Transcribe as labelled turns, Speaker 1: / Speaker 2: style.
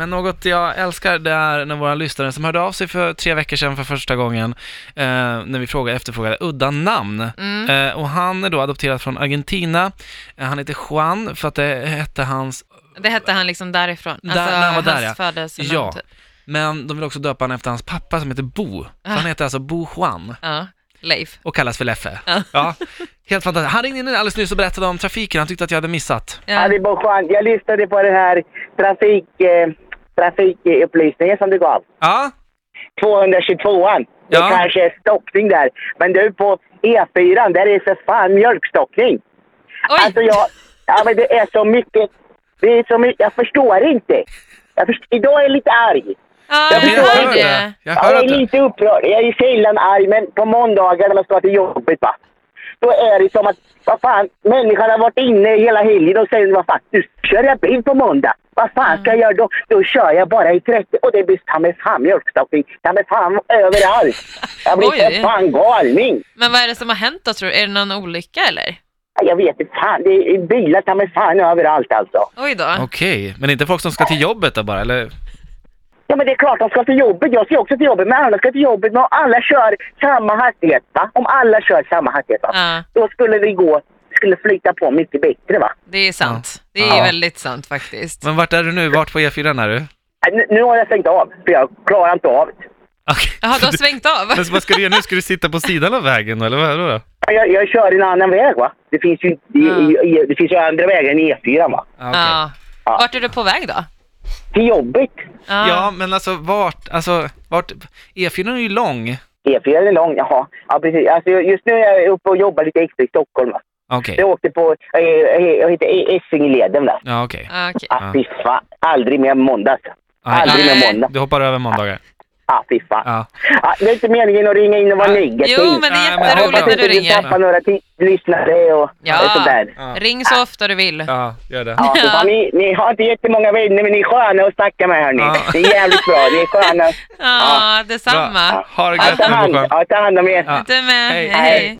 Speaker 1: Men något jag älskar det är när våra lyssnare som hörde av sig för tre veckor sedan för första gången, eh, när vi frågade, efterfrågade udda namn.
Speaker 2: Mm.
Speaker 1: Eh, och han är då adopterad från Argentina. Eh, han heter Juan för att det hette hans
Speaker 2: Det hette han liksom därifrån. Alltså,
Speaker 1: Där- när han var där,
Speaker 2: hans
Speaker 1: ja.
Speaker 2: födelsenamn
Speaker 1: Ja.
Speaker 2: typ.
Speaker 1: Men de vill också döpa honom efter hans pappa som heter Bo. Så
Speaker 2: Ah.
Speaker 1: han heter alltså Bo Juan
Speaker 2: Ja. Leif.
Speaker 1: och kallas för Leffe.
Speaker 2: Ah.
Speaker 1: Ja, helt fantastiskt. Han ringde in alldeles nyss och berättade om trafiken. Han tyckte att jag hade missat.
Speaker 2: Ja.
Speaker 3: det var skönt. Alltså, Jag lyssnade på den här trafik, eh, trafikupplysningen som du gav.
Speaker 1: Ja,
Speaker 3: 222an. Det
Speaker 1: Ja.
Speaker 3: kanske är stockning där. Men du på E4, där är för fan mjölkstockning.
Speaker 2: Oj!
Speaker 3: Alltså jag, ja men det är så mycket, det är så mycket, jag förstår inte. Jag först, idag är jag lite arg.
Speaker 2: ja,
Speaker 3: jag
Speaker 2: jag
Speaker 3: förstår
Speaker 2: hör
Speaker 3: inte.
Speaker 2: det.
Speaker 1: Jag
Speaker 3: Ja,
Speaker 1: hör att
Speaker 3: jag är
Speaker 1: du...
Speaker 3: lite upprörd. Jag är sällan arg, men på måndagar när man ska till jobbet va. Då är det som att, vad fan, människan har varit inne hela helgen och säger, vad fan, nu kör jag bil på måndag. Vad fan
Speaker 1: Mm.
Speaker 3: ska jag göra då? Då kör jag bara i 30 och det blir ta mig fan mjölkstockning, ta mig fan överallt. Jag blir
Speaker 2: Oj, oj, oj.
Speaker 3: för fan galning.
Speaker 2: Men vad är det som har hänt då tror du? Är det någon olycka eller?
Speaker 3: Jag vet inte, fan, det är bilar ta mig fan överallt alltså.
Speaker 2: Oj då.
Speaker 1: Okej, men inte folk som ska till jobbet då bara, eller?
Speaker 3: Ja men det är klart de ska till jobbet, jag ska också till jobbet, men alla ska till jobbet. Men om alla kör samma hastighet va? Om alla kör samma hastighet va?
Speaker 2: Ja,
Speaker 3: Då skulle det gå, skulle flyta på mycket bättre va?
Speaker 2: det är sant. Det är
Speaker 1: Ja.
Speaker 2: väldigt sant faktiskt.
Speaker 1: Men vart är du nu? Vart på E4 är du?
Speaker 3: Äh, Nu, nu har jag stängt av, för jag klarar inte av det.
Speaker 1: Okej.
Speaker 2: Jaha, du har svängt av?
Speaker 1: Men vad ska du göra nu? Ska du sitta på sidan av vägen eller vad är det då?
Speaker 3: Ja, Jag, jag kör en annan väg va? Det finns ju, i, i, i, det finns ju andra vägar än E4 va?
Speaker 1: Ah, okej.
Speaker 2: Ja. Vart är du på väg då?
Speaker 3: Till jobbet.
Speaker 2: Ja.
Speaker 1: Ja, men alltså vart, alltså vart, E4 är ju lång.
Speaker 3: E4 E är lång, jaha. Ja precis. Alltså, just nu är jag uppe och jobbar lite extra i Stockholm va?
Speaker 1: Okej,
Speaker 3: Jag åkte på, eh, eh, jag heter Essingeleden där.
Speaker 1: ja okej.
Speaker 2: Ja, okej.
Speaker 3: Ah, fy fan. Aldrig mer måndag alltså.
Speaker 1: Nej,
Speaker 3: Aldrig
Speaker 2: nej.
Speaker 3: mer måndag.
Speaker 1: Du hoppar över måndagar.
Speaker 3: Ah, fy fan.
Speaker 1: Ja.
Speaker 3: Ah, det är inte meningen att ringa in och vara negativ.
Speaker 2: Jo, men det är
Speaker 1: Nej, men
Speaker 2: jätteroligt
Speaker 1: hoppas
Speaker 2: när du
Speaker 3: Jag hoppas inte vi
Speaker 2: ringer.
Speaker 3: tappar några ti- lyssnare och och
Speaker 2: Ja,
Speaker 3: sådär.
Speaker 1: Ja.
Speaker 2: ring så ofta du vill.
Speaker 1: Ja, gör det.
Speaker 3: Ja, fy fan, ni, ni har inte jättemånga vänner, men ni är sköna att snacka med hörni.
Speaker 1: Ja.
Speaker 3: Ni är jävligt bra. Ni är sköna.
Speaker 2: Ja,
Speaker 3: Ja.
Speaker 2: detsamma.
Speaker 1: Bra. Ha det
Speaker 3: Ja,
Speaker 1: gött
Speaker 3: ta
Speaker 1: nu
Speaker 3: hand,
Speaker 1: Håkan.
Speaker 3: ja, ta hand om er.
Speaker 1: Ja.
Speaker 2: Du med.
Speaker 1: Hej.
Speaker 2: hej.